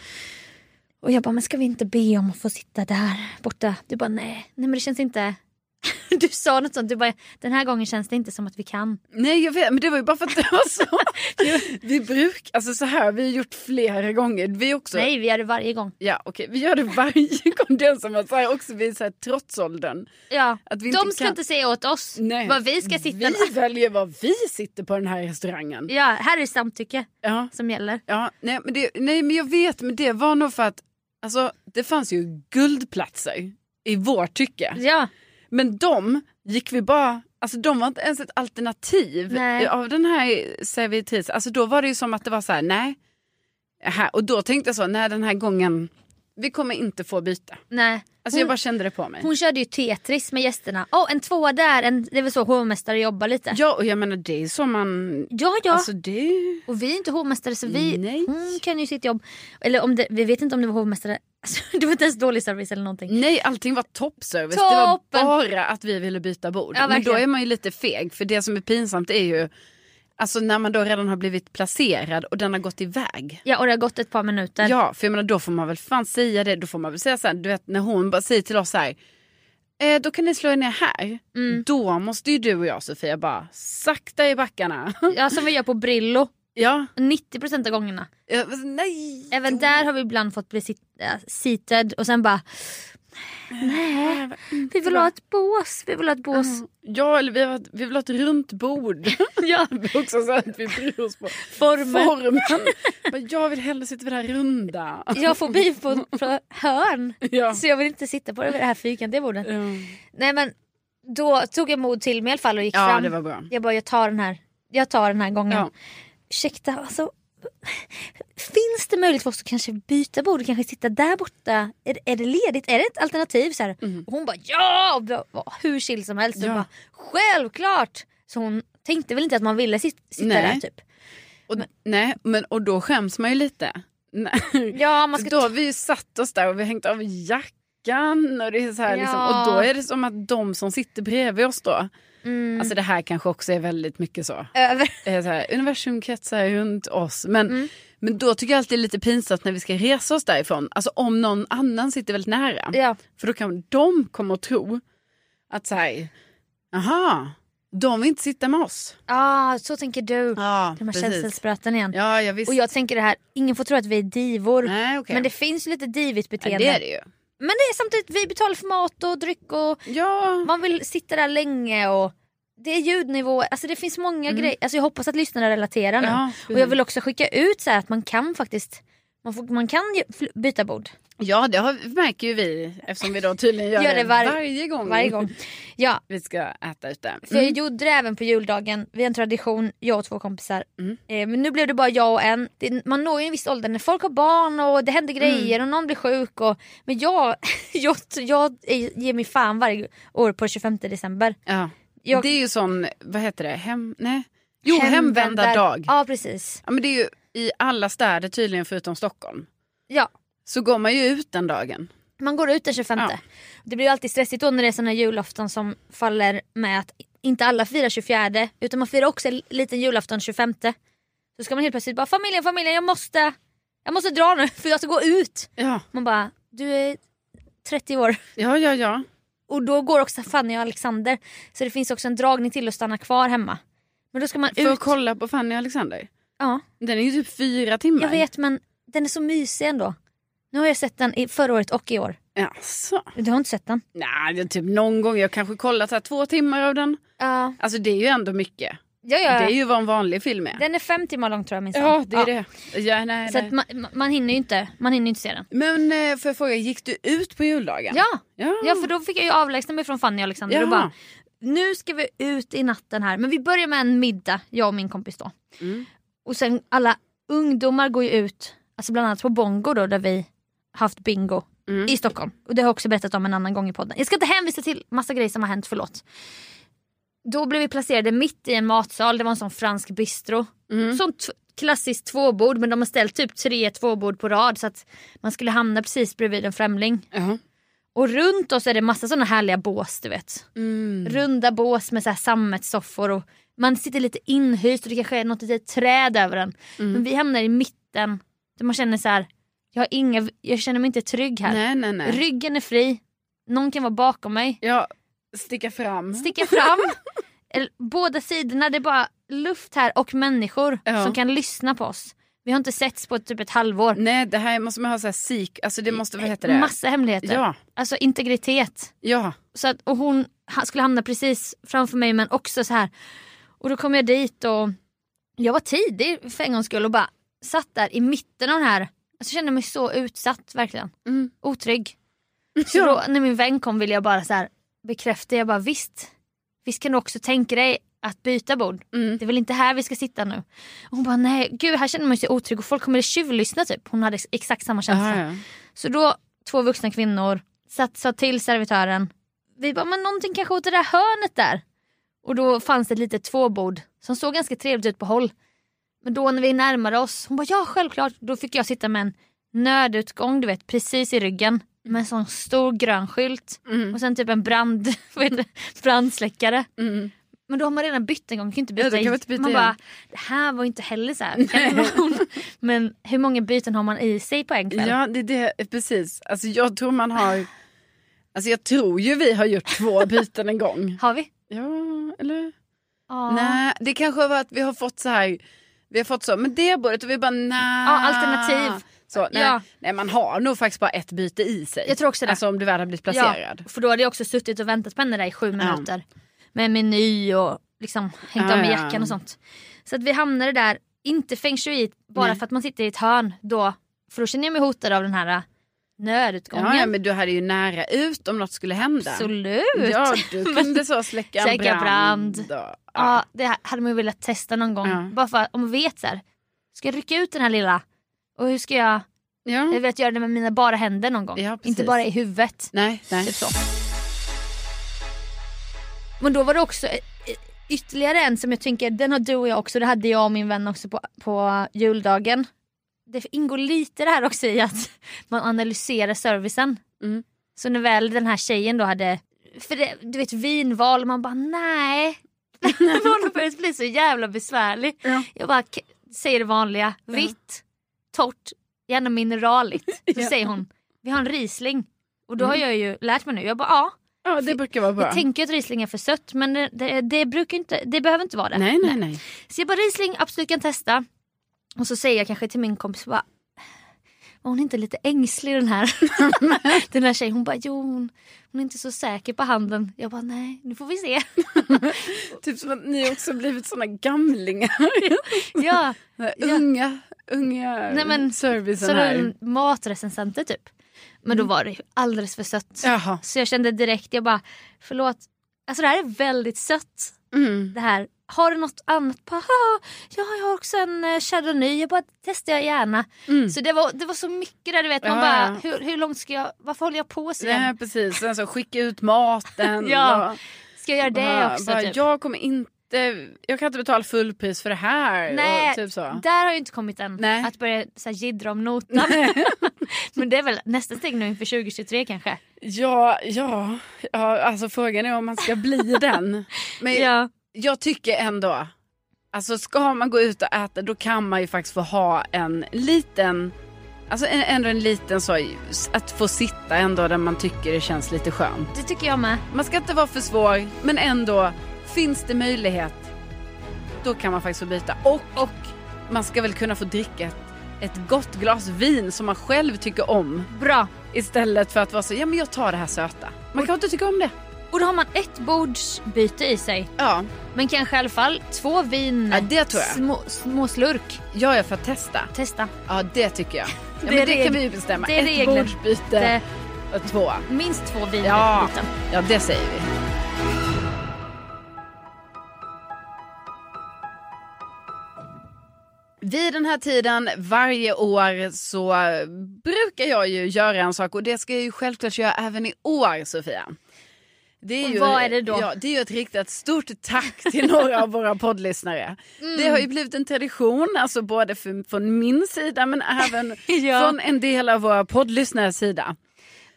Speaker 2: Och jag bara, men ska vi inte be om att få sitta där borta? Du bara, nej, nej men det känns inte du sa något sånt, du bara den här gången känns det inte som att vi kan.
Speaker 1: Nej jag vet, men det var ju bara för att det var så. vi brukar, alltså så här, vi har gjort flera gånger. Vi också,
Speaker 2: Nej vi gör det varje gång.
Speaker 1: Ja okej, vi gör det varje gång. Den som har så här också vid så här trotsåldern.
Speaker 2: Ja.
Speaker 1: Att vi
Speaker 2: De
Speaker 1: inte
Speaker 2: ska
Speaker 1: kan-
Speaker 2: inte säga åt oss
Speaker 1: Nej.
Speaker 2: var vi ska sitta.
Speaker 1: Vi väljer var vi sitter på den här restaurangen.
Speaker 2: Ja, här är samtycke
Speaker 1: Ja,
Speaker 2: som gäller.
Speaker 1: ja nej, men det, nej men jag vet, men det var nog för att alltså, det fanns ju guldplatser i vårt tycke.
Speaker 2: Ja,
Speaker 1: Men de gick vi bara, alltså de var inte ens ett alternativ
Speaker 2: Nej.
Speaker 1: av den här servitrisen. Alltså då var det ju som att det var så här, nej. Här. Och då tänkte jag så, nej den här gången, vi kommer inte få byta.
Speaker 2: nej.
Speaker 1: Alltså jag bara kände det på mig.
Speaker 2: Hon körde ju Tetris med gästerna. Åh, en tvåa där, en, det är väl så hovmästare jobbar lite.
Speaker 1: Ja och jag menar det är ju som man,
Speaker 2: Ja, ja.
Speaker 1: alltså det är ju-
Speaker 2: och vi är inte hovmästare så vi,
Speaker 1: Nej.
Speaker 2: hon kan ju sitt jobb. Eller om det, vi vet inte om det var hovmästare. Alltså, det var inte ens dålig service eller någonting.
Speaker 1: Nej allting var toppservice, det
Speaker 2: Toppen.
Speaker 1: var bara att vi ville byta bord.
Speaker 2: Ja,
Speaker 1: Men då
Speaker 2: verkligen.
Speaker 1: är man ju lite feg för det som är pinsamt är ju, alltså när man då redan har blivit placerad och den har gått iväg.
Speaker 2: Ja, och det har gått ett par minuter.
Speaker 1: Ja, för jag menar, då får man väl fan säga det. Då får man väl säga så här, du vet när hon bara säger till oss så här, eh, då kan ni slå er ner här.
Speaker 2: Mm.
Speaker 1: Då måste ju du och jag Sofia bara sakta i backarna.
Speaker 2: Ja, som vi gör på Brillo.
Speaker 1: ja,
Speaker 2: 90% av gångerna.
Speaker 1: jag bara, nej.
Speaker 2: Även där har vi ibland fått bli sit, äh, seated och sen bara
Speaker 1: Eh,
Speaker 2: Nej, vi vill ha ett bås, vi vill ha ett bås.
Speaker 1: Mm. Ja, eller vi, har, vi vill ha ett runt bord.
Speaker 2: Ja,
Speaker 1: Det är Också så att vi bryr oss på
Speaker 2: formen.
Speaker 1: formen. Men jag vill hellre sitta vid det här runda.
Speaker 2: Jag har fobi på, på hörn.
Speaker 1: Ja.
Speaker 2: Så jag vill inte sitta på det här fyrkantiga bordet.
Speaker 1: Ja.
Speaker 2: Nej men då tog jag mod till mig i alla fall och gick
Speaker 1: ja,
Speaker 2: fram.
Speaker 1: det var bra.
Speaker 2: Jag bara jag tar den här, jag tar den här gången.
Speaker 1: Ja.
Speaker 2: Ursäkta alltså. Finns det möjlighet för oss att kanske byta bord och kanske sitta där borta? Är, är det ledigt? Är det ett alternativ? Så här. Och hon bara ja! Och jag var Hur chill som helst. Och
Speaker 1: Mm. Ja.
Speaker 2: Bara, Självklart! Så hon tänkte väl inte att man ville sit, sitta
Speaker 1: Nej.
Speaker 2: där typ.
Speaker 1: Och, nej, men, och då skäms man ju lite. Nej.
Speaker 2: Ja, man ska
Speaker 1: För då har vi ju satt oss där och vi har hängt av jackan och, det är så här, liksom,
Speaker 2: Ja.
Speaker 1: och då är det som att de som sitter bredvid oss då,
Speaker 2: mm,
Speaker 1: alltså det här kanske också är väldigt mycket så,
Speaker 2: över.
Speaker 1: eh, så här, universum kretsar runt oss. Men, men då tycker jag alltid det är lite pinsamt när vi ska resa oss därifrån, alltså om någon annan sitter väldigt nära.
Speaker 2: Ja.
Speaker 1: För då kan de komma och tro att så här, aha, de vill inte sitta med oss.
Speaker 2: Ah, så tänker du.
Speaker 1: Ja,
Speaker 2: De här känselspröten igen.
Speaker 1: Ja, jag visst.
Speaker 2: Och jag tänker det här, ingen får tro att vi är divor.
Speaker 1: Nej, okej.
Speaker 2: Men det finns ju lite divigt
Speaker 1: ja,
Speaker 2: beteende.
Speaker 1: det är det ju.
Speaker 2: Men det är samtidigt, vi betalar för mat och dryck och
Speaker 1: Ja,
Speaker 2: man vill sitta där länge och det är ljudnivåer, alltså det finns många grejer. Alltså jag hoppas att lyssnarna relaterar nu.
Speaker 1: Mm. Ja,
Speaker 2: och jag vill också skicka ut så här att man kan faktiskt man, får, man kan ju fl- byta bord
Speaker 1: Ja, det har, märker ju vi eftersom vi då tydligen gör,
Speaker 2: Gör det var-
Speaker 1: varje, gång
Speaker 2: varje gång. Ja,
Speaker 1: vi ska äta ute. Mm,
Speaker 2: för jag gjorde det även på juldagen. Vi har en tradition, jag och två kompisar.
Speaker 1: Mm.
Speaker 2: Eh, men nu blev det bara jag och en. Det, man når ju en viss ålder när folk har barn och det
Speaker 1: Mm.
Speaker 2: händer grejer och någon blir sjuk. Och, men jag, jag, jag ger mig fan varje år på 25 december.
Speaker 1: Ja.
Speaker 2: Jag,
Speaker 1: Det är ju sån, vad heter det, hem... Nej. Jo,
Speaker 2: hemvändar-
Speaker 1: hemvända dag.
Speaker 2: Ja precis.
Speaker 1: Ja, men det är ju i alla städer tydligen förutom Stockholm.
Speaker 2: Ja.
Speaker 1: Så går man ju ut den dagen.
Speaker 2: Man går ut den 25.
Speaker 1: Ja.
Speaker 2: Det blir ju alltid stressigt då när det är såna julafton som faller med att inte alla firar 24 utan man firar också en liten julafton 25. Så ska man helt plötsligt bara familjen, familjen, jag måste, jag måste dra nu för jag ska gå ut.
Speaker 1: Ja,
Speaker 2: Man bara, du är 30 år.
Speaker 1: ja, ja. ja.
Speaker 2: Och då går också Fanny och Alexander. Så det finns också en dragning till att stanna kvar hemma. Men då ska man
Speaker 1: För
Speaker 2: ut.
Speaker 1: att kolla på Fanny och Alexander.
Speaker 2: Ja,
Speaker 1: Den är ju typ fyra timmar.
Speaker 2: jag vet men den är så mysig ändå. Nu har jag sett den i förra året och i år.
Speaker 1: Jaså?
Speaker 2: Du har inte sett den?
Speaker 1: Alltså. Nej, det är typ någon gång. Jag kanske kollat så här två timmar av den.
Speaker 2: Ja.
Speaker 1: Alltså det är ju ändå mycket.
Speaker 2: Ja, ja.
Speaker 1: Det är ju vad en vanlig film är.
Speaker 2: Den är fem timmar lång tror jag minsann.
Speaker 1: Ja, det är det. Ja, nej,
Speaker 2: Så
Speaker 1: nej.
Speaker 2: att man, ma- man hinner ju inte, man hinner ju inte se den.
Speaker 1: Men eh, får jag fråga, gick du ut på juldagen?
Speaker 2: Ja.
Speaker 1: Ja,
Speaker 2: ja, för då fick jag ju avlägsna mig från Fanny och Alexander och
Speaker 1: Jaha.
Speaker 2: bara nu ska vi ut i natten här. Men vi börjar med en middag, jag och min kompis då.
Speaker 1: Mm.
Speaker 2: Och sen alla ungdomar går ju ut, alltså bland annat på Bongo då där vi haft bingo
Speaker 1: Mm.
Speaker 2: i Stockholm. Och det har jag också berättat om en annan gång i podden. Jag ska inte hänvisa till massa grejer som har hänt, förlåt. Då blev vi placerade mitt i en matsal, det var en sån fransk bistro.
Speaker 1: Mm.
Speaker 2: Sånt t- klassiskt tvåbord men de har ställt typ tre tvåbord på rad så att man skulle hamna precis bredvid en främling.
Speaker 1: Ja.
Speaker 2: Och runt oss är det massa såna härliga bås du vet.
Speaker 1: Mm.
Speaker 2: Runda bås med så här sammetssoffor och man sitter lite inhyst och det kanske är något litet träd över en.
Speaker 1: Mm.
Speaker 2: Men vi hamnar i mitten där man känner så här, jag, har inga, jag känner mig inte trygg här.
Speaker 1: Nej, nej, nej.
Speaker 2: Ryggen är fri, någon kan vara bakom mig,
Speaker 1: ja, sticka fram.
Speaker 2: sticka fram. Eller, Båda sidorna, det är bara luft här och människor
Speaker 1: Ja.
Speaker 2: som kan lyssna på oss. Vi har inte setts på typ ett halvår.
Speaker 1: Nej, det här måste man ha så här sik, alltså det måste, vad heter det?
Speaker 2: Massa hemligheter.
Speaker 1: Ja,
Speaker 2: Alltså integritet.
Speaker 1: ja.
Speaker 2: Så att, och hon ha- skulle hamna precis framför mig men också så här. Och då kom jag dit och jag var tidig för en gångs skull och bara satt där i mitten av den här. Alltså, jag kände mig så utsatt verkligen.
Speaker 1: Mm.
Speaker 2: Otrygg. Så då när min vän kom ville jag bara så här bekräfta. Jag bara visst. Visst kan du också tänka dig att byta bord.
Speaker 1: Mm.
Speaker 2: Det är väl inte här vi ska sitta nu. Och hon bara nej gud här känner man sig otrygg och folk kommer att tjuvlyssna typ. Hon hade ex- exakt samma känsla.
Speaker 1: Aha, ja.
Speaker 2: Så då, två vuxna kvinnor, satt, sa till servitören. Vi bara, men någonting kanske åt det där hörnet där. Och då fanns det ett litet tvåbord som såg ganska trevligt ut på håll. Men då när vi närmade oss, hon bara ja självklart. Då fick jag sitta med en nödutgång du vet precis i ryggen. Med en sån stor grön skylt.
Speaker 1: Mm.
Speaker 2: Och sen typ en brand, vad heter det? brandsläckare.
Speaker 1: Mm.
Speaker 2: Men då har man redan bytt en gång, man kan ju inte
Speaker 1: Ja,
Speaker 2: byta,
Speaker 1: då kan
Speaker 2: igen.
Speaker 1: man inte byta
Speaker 2: Man
Speaker 1: igen.
Speaker 2: bara, det här var ju inte heller så här. kanon." Men hur många byten har man i sig på en kväll?
Speaker 1: Ja, det är det, precis. Alltså jag tror man har, alltså jag tror ju vi har gjort två byten en gång.
Speaker 2: Har vi?
Speaker 1: Ja, eller?
Speaker 2: Ja.
Speaker 1: Nej, det kanske var att vi har fått så här, vi har fått så, men det bordet och vi bara nej.
Speaker 2: Ja, alternativ.
Speaker 1: Så, nej,
Speaker 2: Ja.
Speaker 1: nej, man har nog faktiskt bara ett byte i sig.
Speaker 2: Jag tror också det.
Speaker 1: Alltså om du väl har blivit placerad.
Speaker 2: Ja, för då hade jag också suttit och väntat på henne där i sju minuter. Med meny och liksom hängt
Speaker 1: Ja,
Speaker 2: av med
Speaker 1: ja.
Speaker 2: jackan och sånt. Så att vi hamnade där, inte feng shui bara
Speaker 1: Nej.
Speaker 2: för att man sitter i ett hörn då. För då känner jag mig hotad av den här äh, nödutgången.
Speaker 1: Ja, ja, men du hade ju nära ut om något skulle hända.
Speaker 2: Absolut.
Speaker 1: Ja, du kunde så släcka en
Speaker 2: Släcka
Speaker 1: brand.
Speaker 2: brand.
Speaker 1: och-
Speaker 2: Ja, det här hade man ju velat testa någon gång.
Speaker 1: Ja.
Speaker 2: Bara för att- om man vet så här. Ska jag rycka ut den här lilla? Och hur ska jag, jag
Speaker 1: ja.
Speaker 2: vet göra det med mina bara händer någon gång?
Speaker 1: Mm. Ja, precis.
Speaker 2: inte bara i huvudet.
Speaker 1: Nej, nej.
Speaker 2: Typ så. Men då var det också eh, ytterligare en som jag tänker, den har du och jag också, det hade jag och min vän också på, på juldagen. Det ingår lite det här också i att man analyserar servicen.
Speaker 1: Mm.
Speaker 2: Så när väl den här tjejen då hade, för det, du vet vinval, man bara nej. Man började bli så jävla besvärlig.
Speaker 1: Ja.
Speaker 2: Jag bara "K- säger det vanliga, vitt, torrt, gärna mineraligt. Så
Speaker 1: Ja. Mm.
Speaker 2: säger hon, vi har en risling. Och då har jag ju lärt mig nu, jag bara ja.
Speaker 1: Ja, det brukar vara bra.
Speaker 2: Jag tänker att Riesling är för sött men det, det, det, brukar inte, det behöver inte vara det.
Speaker 1: Nej, nej, nej.
Speaker 2: Så jag bara Riesling absolut kan testa. Och så säger jag kanske till min kompis bara, "Var hon inte lite ängslig den här, den här tjejen? Hon bara, jo hon, hon är inte så säker på handen. Jag bara, nej nu får vi se.
Speaker 1: Typ som att ni också blivit såna gamlingar.
Speaker 2: ja, Ja.
Speaker 1: Unga, unga
Speaker 2: Nej, men,
Speaker 1: servicen
Speaker 2: som
Speaker 1: här. Mm.
Speaker 2: en matrecensenter typ. Men då var det ju alldeles för sött.
Speaker 1: Jaha.
Speaker 2: Så jag kände direkt, jag bara, förlåt. Alltså det här är väldigt sött.
Speaker 1: Mm.
Speaker 2: det här. Har du något annat? Bara, "Ja, ja, jag har också en eh, chardonnay. Jag bara testar jag gärna.
Speaker 1: Mm.
Speaker 2: Så det var, det var så mycket där du vet. Man
Speaker 1: Ja,
Speaker 2: bara,
Speaker 1: ja.
Speaker 2: hur, hur långt ska jag, varför håller jag på så
Speaker 1: Nej,
Speaker 2: länge?
Speaker 1: precis. Sen så skicka ut maten.
Speaker 2: Ja,
Speaker 1: och,
Speaker 2: Ska jag göra det
Speaker 1: bara-
Speaker 2: också?
Speaker 1: bara,
Speaker 2: typ?
Speaker 1: Jag kommer inte, jag kan inte betala fullpris för det här.
Speaker 2: Nej,
Speaker 1: och, typ så.
Speaker 2: Där har jag inte kommit än.
Speaker 1: Nej.
Speaker 2: Att börja så här, jiddra om notan. Men det är väl nästa steg nu inför 2023 kanske.
Speaker 1: Ja, ja, ja, alltså frågan är om man ska bli den. Men
Speaker 2: Ja.
Speaker 1: jag tycker ändå, alltså ska man gå ut och äta då kan man ju faktiskt få ha en liten, alltså en, ändå en liten så, att få sitta ändå där man tycker det känns lite skönt.
Speaker 2: Det tycker jag med.
Speaker 1: Man ska inte vara för svår, men ändå, finns det möjlighet, då kan man faktiskt få byta. Och, och man ska väl kunna få dricka ett, ett gott glas vin som man själv tycker om.
Speaker 2: Bra.
Speaker 1: Istället för att vara så, ja men jag tar det här söta. Man kan inte tycka om det.
Speaker 2: Och då har man ett bordsbyte i sig.
Speaker 1: Ja,
Speaker 2: Men kanske i alla fall två vin,
Speaker 1: Ja, det tror jag.
Speaker 2: Små, små slurk.
Speaker 1: jag är för att testa.
Speaker 2: Testa.
Speaker 1: Ja, det tycker jag. Ja,
Speaker 2: Det är
Speaker 1: men det
Speaker 2: reg-
Speaker 1: kan vi ju bestämma.
Speaker 2: det är
Speaker 1: Ett
Speaker 2: regler.
Speaker 1: bordsbyte och två.
Speaker 2: Minst två vin
Speaker 1: Ja.
Speaker 2: i biten.
Speaker 1: Ja, det säger vi. Vid den här tiden varje år så brukar jag ju göra en sak och det ska jag ju självklart göra även i år Sofia. Det
Speaker 2: Och vad är det då?
Speaker 1: Ja, det är ju att rikta ett stort tack till några av våra poddlyssnare.
Speaker 2: Mm.
Speaker 1: Det har ju blivit en tradition, alltså både för, från min sida men även
Speaker 2: Ja.
Speaker 1: från en del av våra poddlyssnares sida.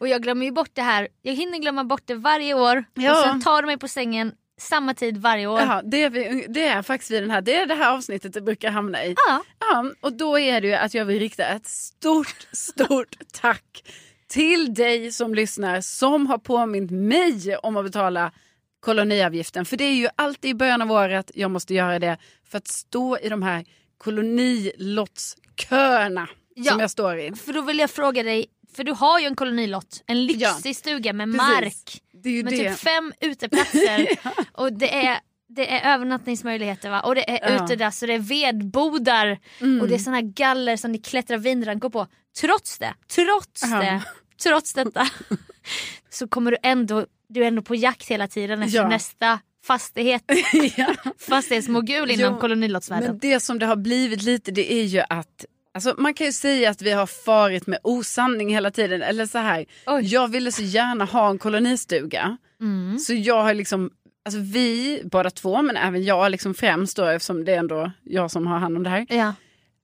Speaker 2: Och jag glömmer ju bort det här. Jag hinner glömma bort det varje år.
Speaker 1: Ja.
Speaker 2: Och sen tar de mig på sängen samma tid varje år.
Speaker 1: Ja, det, är vi, det är faktiskt vi den här, det är det här avsnittet det brukar hamna i.
Speaker 2: Ja.
Speaker 1: Ja, och då är det ju att jag vill rikta ett stort, stort tack till dig som lyssnar som har påmint mig om att betala koloniavgiften. För det är ju alltid i början av året jag måste göra det för att stå i de här kolonilottsköerna
Speaker 2: Ja.
Speaker 1: som jag står i.
Speaker 2: För då vill jag fråga dig, för du har ju en kolonilott, en lyxig stuga med
Speaker 1: Precis.
Speaker 2: mark.
Speaker 1: Det är ju
Speaker 2: Med
Speaker 1: det.
Speaker 2: typ fem uteplatser. Och det är, det är övernattningsmöjligheter va? Och det är
Speaker 1: Ja. Mm.
Speaker 2: utedass och det är vedbodar. Och det är såna här galler som ni klättrar vinrankor på. Trots det, trots
Speaker 1: Ja.
Speaker 2: det, trots detta. så kommer du ändå, du är ändå på jakt hela tiden efter
Speaker 1: Ja.
Speaker 2: nästa fastighet.
Speaker 1: ja.
Speaker 2: Fastighetsmogul inom
Speaker 1: Jo, Men
Speaker 2: kolonilottsvärlden.
Speaker 1: det som det har blivit lite det är ju att Alltså, man kan ju säga att vi har farit med osanning hela tiden. Eller så här,
Speaker 2: Oj.
Speaker 1: jag ville så gärna ha en kolonistuga.
Speaker 2: Mm.
Speaker 1: Så jag har liksom, alltså vi båda två, men även jag liksom främst då eftersom det är ändå jag som har hand om det här.
Speaker 2: Ja.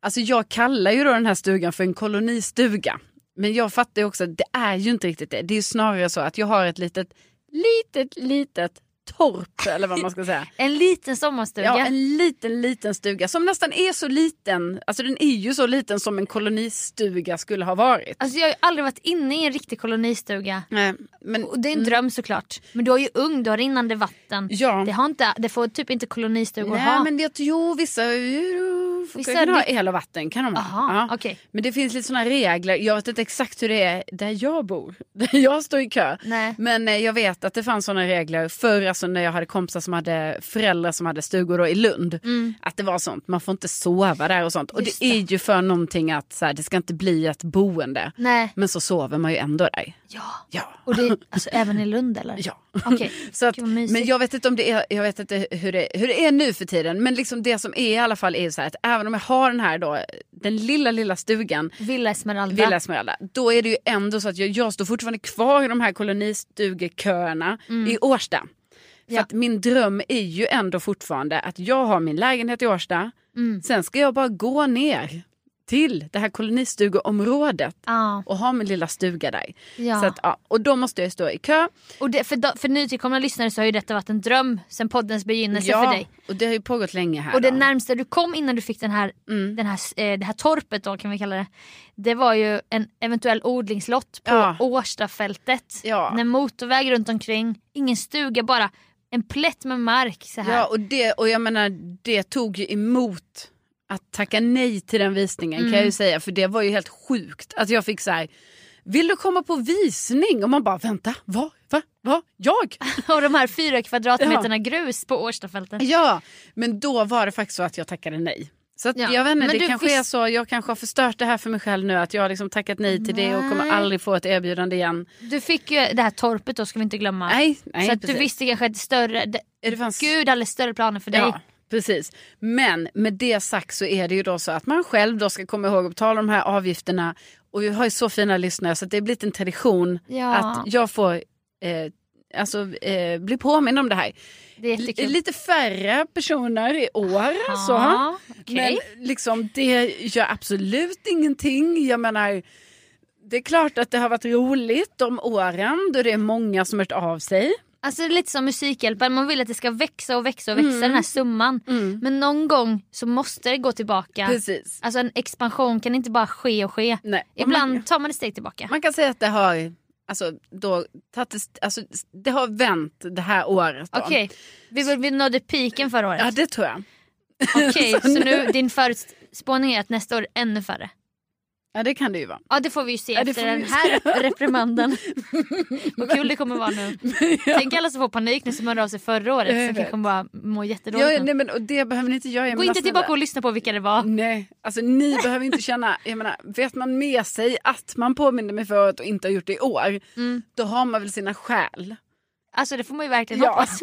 Speaker 1: Alltså jag kallar ju då den här stugan för en kolonistuga. Men jag fattar ju också att det är ju inte riktigt det. Det är ju snarare så att jag har ett litet, litet, litet torp eller vad man ska säga.
Speaker 2: En liten sommarstuga.
Speaker 1: Ja, en liten, liten stuga som nästan är så liten. Alltså den är ju så liten som en kolonistuga skulle ha varit.
Speaker 2: Alltså jag har ju aldrig varit inne i en riktig kolonistuga.
Speaker 1: Nej, men
Speaker 2: Alltså, eh, Och det är en dröm såklart. Men du är ju ung, du har rinnande vatten.
Speaker 1: ja.
Speaker 2: Det, har inte, det får typ inte kolonistugor
Speaker 1: Nej,
Speaker 2: ha.
Speaker 1: men jag tror vissa, eh, jo,
Speaker 2: Vissa
Speaker 1: kan ha
Speaker 2: vi-
Speaker 1: el och vatten. Kan de ha.
Speaker 2: Aha,
Speaker 1: Ja.
Speaker 2: okej.
Speaker 1: Men det finns lite sådana regler. Jag vet inte exakt hur det är där jag bor. Där jag står i kö.
Speaker 2: Nej.
Speaker 1: Men eh, jag vet att det fanns sådana regler förr, alltså när jag hade kompisar som hade föräldrar som hade stugor då i Lund. Att det var sånt, man får inte sova där och sånt. Och
Speaker 2: Mm. Just
Speaker 1: det är ju för någonting att så här, det ska inte bli ett boende.
Speaker 2: Nej.
Speaker 1: Men så sover man ju ändå där.
Speaker 2: Ja.
Speaker 1: Ja.
Speaker 2: Och det, alltså även i Lund eller?
Speaker 1: Ja.
Speaker 2: Okej.
Speaker 1: Så att,
Speaker 2: Gud, vad mysigt.
Speaker 1: men jag vet inte, om det är, jag vet inte hur, det, hur det är nu för tiden. Men liksom det som är i alla fall är ju så här att även om jag har den här då, den lilla lilla stugan
Speaker 2: Villa Esmeralda.
Speaker 1: Villa Esmeralda, då är det ju ändå så att jag, jag står fortfarande kvar i de här kolonistugeköerna i Årsta. För
Speaker 2: Mm. Ja.
Speaker 1: att min dröm är ju ändå fortfarande att jag har min lägenhet i Årsta,
Speaker 2: Mm.
Speaker 1: sen ska jag bara gå ner till det här kolonistugeområdet
Speaker 2: Ja.
Speaker 1: och ha min lilla stuga där.
Speaker 2: ja.
Speaker 1: Så att, ja, och då måste jag stå i kö.
Speaker 2: och det, för, da- för nytillkomna lyssnare så har ju detta varit en dröm sedan poddens begynnelse
Speaker 1: Ja,
Speaker 2: Alltså, för dig.
Speaker 1: och det har ju pågått länge här.
Speaker 2: Och det
Speaker 1: då.
Speaker 2: närmsta du kom innan du fick den här,
Speaker 1: Äh, Mm.
Speaker 2: den här, eh, det här torpet då kan vi kalla det. Det var ju en eventuell odlingslott på
Speaker 1: Ja.
Speaker 2: Årstafältet.
Speaker 1: Ja.
Speaker 2: Med motorväg runt omkring, ingen stuga bara en plätt med mark så här.
Speaker 1: Ja, och det, och jag menar, det tog ju emot att tacka nej till den visningen kan
Speaker 2: Mm.
Speaker 1: jag ju säga. För det var ju helt sjukt att jag fick så här. Vill du komma på visning? Och man bara vänta, vad, va, va, jag?
Speaker 2: Och de här fyra kvadratmeterna grus på Årstafältet.
Speaker 1: Ja, men då var det faktiskt så att jag tackade nej. Så att,
Speaker 2: Ja,
Speaker 1: jag vet inte,
Speaker 2: men
Speaker 1: det
Speaker 2: du
Speaker 1: kanske
Speaker 2: visst-
Speaker 1: är så, jag kanske har förstört det här för mig själv nu. Att jag har liksom tackat nej till det och kommer
Speaker 2: Nej.
Speaker 1: aldrig få ett erbjudande igen.
Speaker 2: Du fick ju det här torpet då ska vi inte glömma.
Speaker 1: Nej, nej
Speaker 2: så att du
Speaker 1: precis.
Speaker 2: visste kanske att större, det,
Speaker 1: Det fanns-
Speaker 2: Gud hade större planer för dig.
Speaker 1: Ja, precis. Men med det sagt så är det ju då så att man själv då ska komma ihåg att betala de här avgifterna. Och vi har ju så fina lyssnare så att det har blivit en tradition
Speaker 2: Ja.
Speaker 1: att jag får eh, alltså, eh, bli påmind om det här.
Speaker 2: Det är jättekul.
Speaker 1: L- lite färre personer i år så.
Speaker 2: Ja, okej.
Speaker 1: Men liksom, det gör absolut ingenting. Jag menar, det är klart att det har varit roligt de åren då det är många som hört av sig.
Speaker 2: Alltså det är lite som Musikhjälpen, man vill att det ska växa och växa och
Speaker 1: Mm.
Speaker 2: växa den här summan. Men någon gång så måste det gå tillbaka.
Speaker 1: Precis.
Speaker 2: Alltså en expansion kan inte bara ske och ske.
Speaker 1: Nej. och
Speaker 2: Ibland
Speaker 1: man-
Speaker 2: tar man ett steg tillbaka.
Speaker 1: Man kan säga att det har, alltså, då, tagit, alltså, det har vänt det här året. då.
Speaker 2: Okej, vi, vi nådde piken förra året.
Speaker 1: Ja, det tror jag.
Speaker 2: Okej, så nu din förutspåning är att nästa år är ännu färre.
Speaker 1: Ja, det kan det ju vara.
Speaker 2: Ja det får vi ju se
Speaker 1: Ja, det
Speaker 2: efter
Speaker 1: får vi
Speaker 2: den
Speaker 1: ju
Speaker 2: här reprimanden. Vad kul det kommer vara nu. Tänk alla som får panik nu som hörde av sig förra året som
Speaker 1: Jag vet.
Speaker 2: kanske kommer bara må jättedåligt
Speaker 1: Ja,
Speaker 2: nu.
Speaker 1: nej, alltså, men, och det behöver ni inte göra. Jag
Speaker 2: Gå
Speaker 1: menar,
Speaker 2: inte
Speaker 1: snälla.
Speaker 2: tillbaka och lyssna på vilka det var.
Speaker 1: Nej, alltså ni behöver inte känna, jag menar, vet man med sig att man påminner mig förut och inte har gjort det i år,
Speaker 2: Mm.
Speaker 1: då har man väl sina skäl.
Speaker 2: Alltså det får man ju verkligen
Speaker 1: Ja.
Speaker 2: hoppas.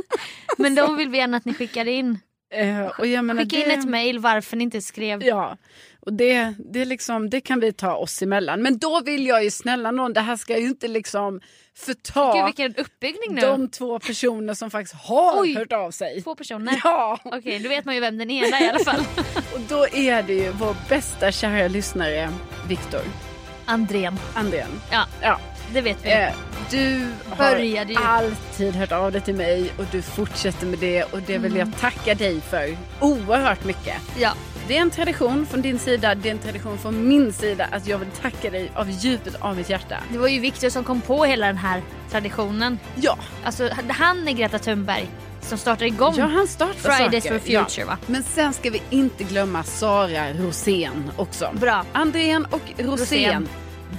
Speaker 2: Men då vill vi gärna att ni skickar in.
Speaker 1: Eh, och jag menar,
Speaker 2: Skicka in
Speaker 1: det-
Speaker 2: ett mejl varför ni inte skrev.
Speaker 1: Ja, och det, det, är liksom, det kan vi ta oss emellan. Men då vill jag ju snälla någon, det här ska ju inte liksom förta
Speaker 2: Gud vilken uppbyggning nu.
Speaker 1: de två personer som faktiskt har
Speaker 2: Oj.
Speaker 1: hört av sig.
Speaker 2: Två personer.
Speaker 1: Ja,
Speaker 2: Okej, då vet man ju vem den ena är i alla fall.
Speaker 1: och då är det ju vår bästa kära lyssnare Viktor
Speaker 2: Andrén.
Speaker 1: Andén.
Speaker 2: Ja,
Speaker 1: Ja.
Speaker 2: det vet vi.
Speaker 1: Eh, du har
Speaker 2: Började ju.
Speaker 1: alltid hört av dig till mig och du fortsätter med det och det vill
Speaker 2: Mm.
Speaker 1: jag tacka dig för oerhört mycket.
Speaker 2: Ja.
Speaker 1: Det är en tradition från din sida, det är en tradition från min sida att jag vill tacka dig av djupet av mitt hjärta.
Speaker 2: Det var ju Victor som kom på hela den här traditionen.
Speaker 1: Ja,
Speaker 2: Alltså han är Greta Thunberg som startar igång.
Speaker 1: ja han startar
Speaker 2: Fridays
Speaker 1: saker.
Speaker 2: for Future, va?
Speaker 1: Men sen ska vi inte glömma Sara Rosén också.
Speaker 2: Bra.
Speaker 1: Andrén och Rosén.
Speaker 2: Rosén.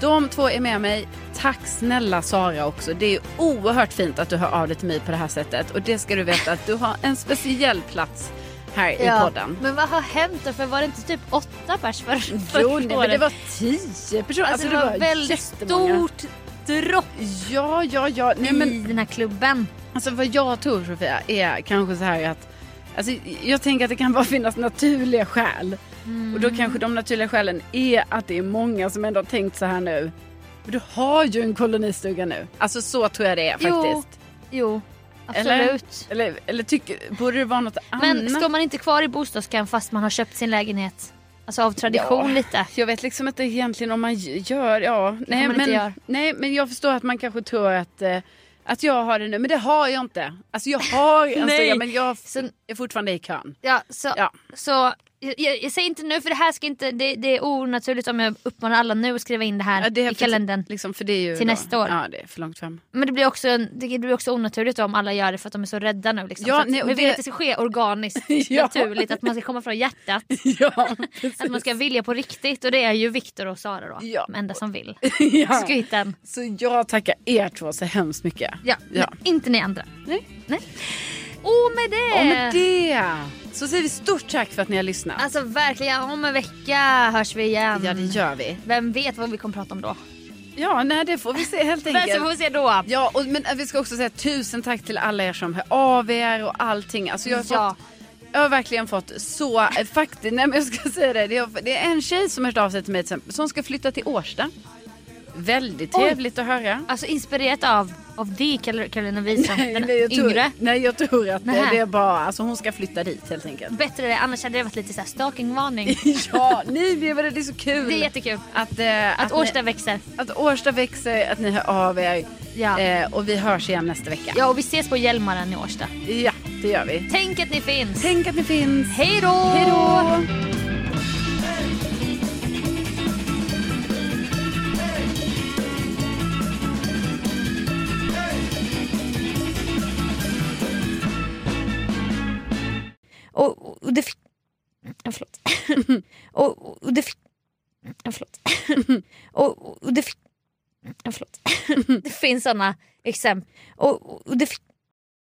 Speaker 1: De två är med mig. Tack snälla Sara också. Det är oerhört fint att du hör av dig till mig på det här sättet. Och det ska du veta att du har en speciell plats här i podden.
Speaker 2: Men vad har hänt då? För var det inte typ åtta pers för, förra
Speaker 1: Jo, nej, men
Speaker 2: året?
Speaker 1: det var tio personer.
Speaker 2: alltså, det var väldigt
Speaker 1: jättemånga.
Speaker 2: stort dropp
Speaker 1: Ja, ja, ja. Nej, men
Speaker 2: i den här klubben.
Speaker 1: Alltså vad jag tror Sofia är kanske så här att Alltså, jag tänker att det kan bara finnas naturliga skäl. Och
Speaker 2: Mm.
Speaker 1: då kanske de naturliga skälen är att det är många som ändå har tänkt så här nu. Men du har ju en kolonistuga nu. Alltså så tror jag det är
Speaker 2: Jo.
Speaker 1: faktiskt.
Speaker 2: Jo,
Speaker 1: Eller?
Speaker 2: absolut.
Speaker 1: Eller, eller tycker, borde det vara något
Speaker 2: Men
Speaker 1: annat?
Speaker 2: står man inte kvar i bostadskön fast man har köpt sin lägenhet? Alltså av tradition
Speaker 1: Ja.
Speaker 2: lite.
Speaker 1: Jag vet liksom inte egentligen om man gör, ja. Nej,
Speaker 2: man inte
Speaker 1: men,
Speaker 2: gör.
Speaker 1: nej men jag förstår att man kanske tror att, eh, att jag har det nu. Men det har jag inte. Alltså jag har en
Speaker 2: Nej.
Speaker 1: stuga men jag
Speaker 2: Så-
Speaker 1: är fortfarande i kön.
Speaker 2: Ja, så,
Speaker 1: Ja.
Speaker 2: så jag, jag jag säger inte nu för det här ska inte, det, det är onaturligt om jag uppmanar alla nu att skriva in det här
Speaker 1: Ja, det är
Speaker 2: i
Speaker 1: för-
Speaker 2: kalendern.
Speaker 1: Liksom, för det är ju
Speaker 2: Till
Speaker 1: då-
Speaker 2: nästa år.
Speaker 1: Ja, det är för långt fram.
Speaker 2: Men det blir, också, en- det blir också onaturligt om alla gör det för att de är så rädda nu. Liksom.
Speaker 1: Ja,
Speaker 2: så att,
Speaker 1: nej, och
Speaker 2: men vi vill
Speaker 1: det-
Speaker 2: att det ska ske organiskt,
Speaker 1: Ja.
Speaker 2: naturligt, att man ska komma från hjärtat.
Speaker 1: ja,
Speaker 2: Att man ska vilja på riktigt och det är ju Viktor och Sara då,
Speaker 1: Ja.
Speaker 2: de enda som vill.
Speaker 1: ja.
Speaker 2: Skryten.
Speaker 1: Så jag tackar er två så hemskt mycket.
Speaker 2: Ja,
Speaker 1: Ja.
Speaker 2: men inte ni andra.
Speaker 1: Nej.
Speaker 2: Nej. Och med det!
Speaker 1: Och med det så säger vi stort tack för att ni har lyssnat.
Speaker 2: Alltså verkligen, om en vecka hörs vi igen.
Speaker 1: Ja, det gör vi.
Speaker 2: Vem vet vad vi kommer prata om då?
Speaker 1: Ja, nej, det får vi se helt
Speaker 2: Men så får
Speaker 1: enkelt.
Speaker 2: vi se då.
Speaker 1: Ja, och, men eh, vi ska också säga tusen tack till alla er som hör av er och allting. Alltså jag har fått
Speaker 2: Ja.
Speaker 1: Jag har verkligen fått så, eh, faktiskt, nej men jag ska säga det. Det är, det är en tjej som har hört av sig till mig till exempel, som ska flytta till Årsta. Väldigt
Speaker 2: Oj.
Speaker 1: trevligt att höra.
Speaker 2: Alltså inspirerat av, av dig Karol- Carolina Wihlström, den
Speaker 1: nej, jag tror,
Speaker 2: yngre.
Speaker 1: Nej jag tror att det,
Speaker 2: Nähä.
Speaker 1: det är bara, alltså hon ska flytta dit helt enkelt.
Speaker 2: Bättre det, annars hade det varit lite så här stalkingvarning.
Speaker 1: ja, nej men jag menar, det är så kul.
Speaker 2: Det är jättekul.
Speaker 1: att, eh,
Speaker 2: Att
Speaker 1: ni-
Speaker 2: Årsta växer.
Speaker 1: att Årsta växer, att ni hör av er.
Speaker 2: Ja.
Speaker 1: Eh, och vi hörs igen nästa vecka.
Speaker 2: Ja, och vi ses på Hjälmaren i Årsta.
Speaker 1: Ja, det gör vi.
Speaker 2: Tänk att ni finns.
Speaker 1: Tänk att ni finns.
Speaker 2: Hej då!
Speaker 1: Hej då!
Speaker 2: Och, och det... fick- Ja, Förlåt. och, och det fi- Ja, förlåt. och, och det fi- Ja, förlåt. det finns såna exempel. Och, och det fi-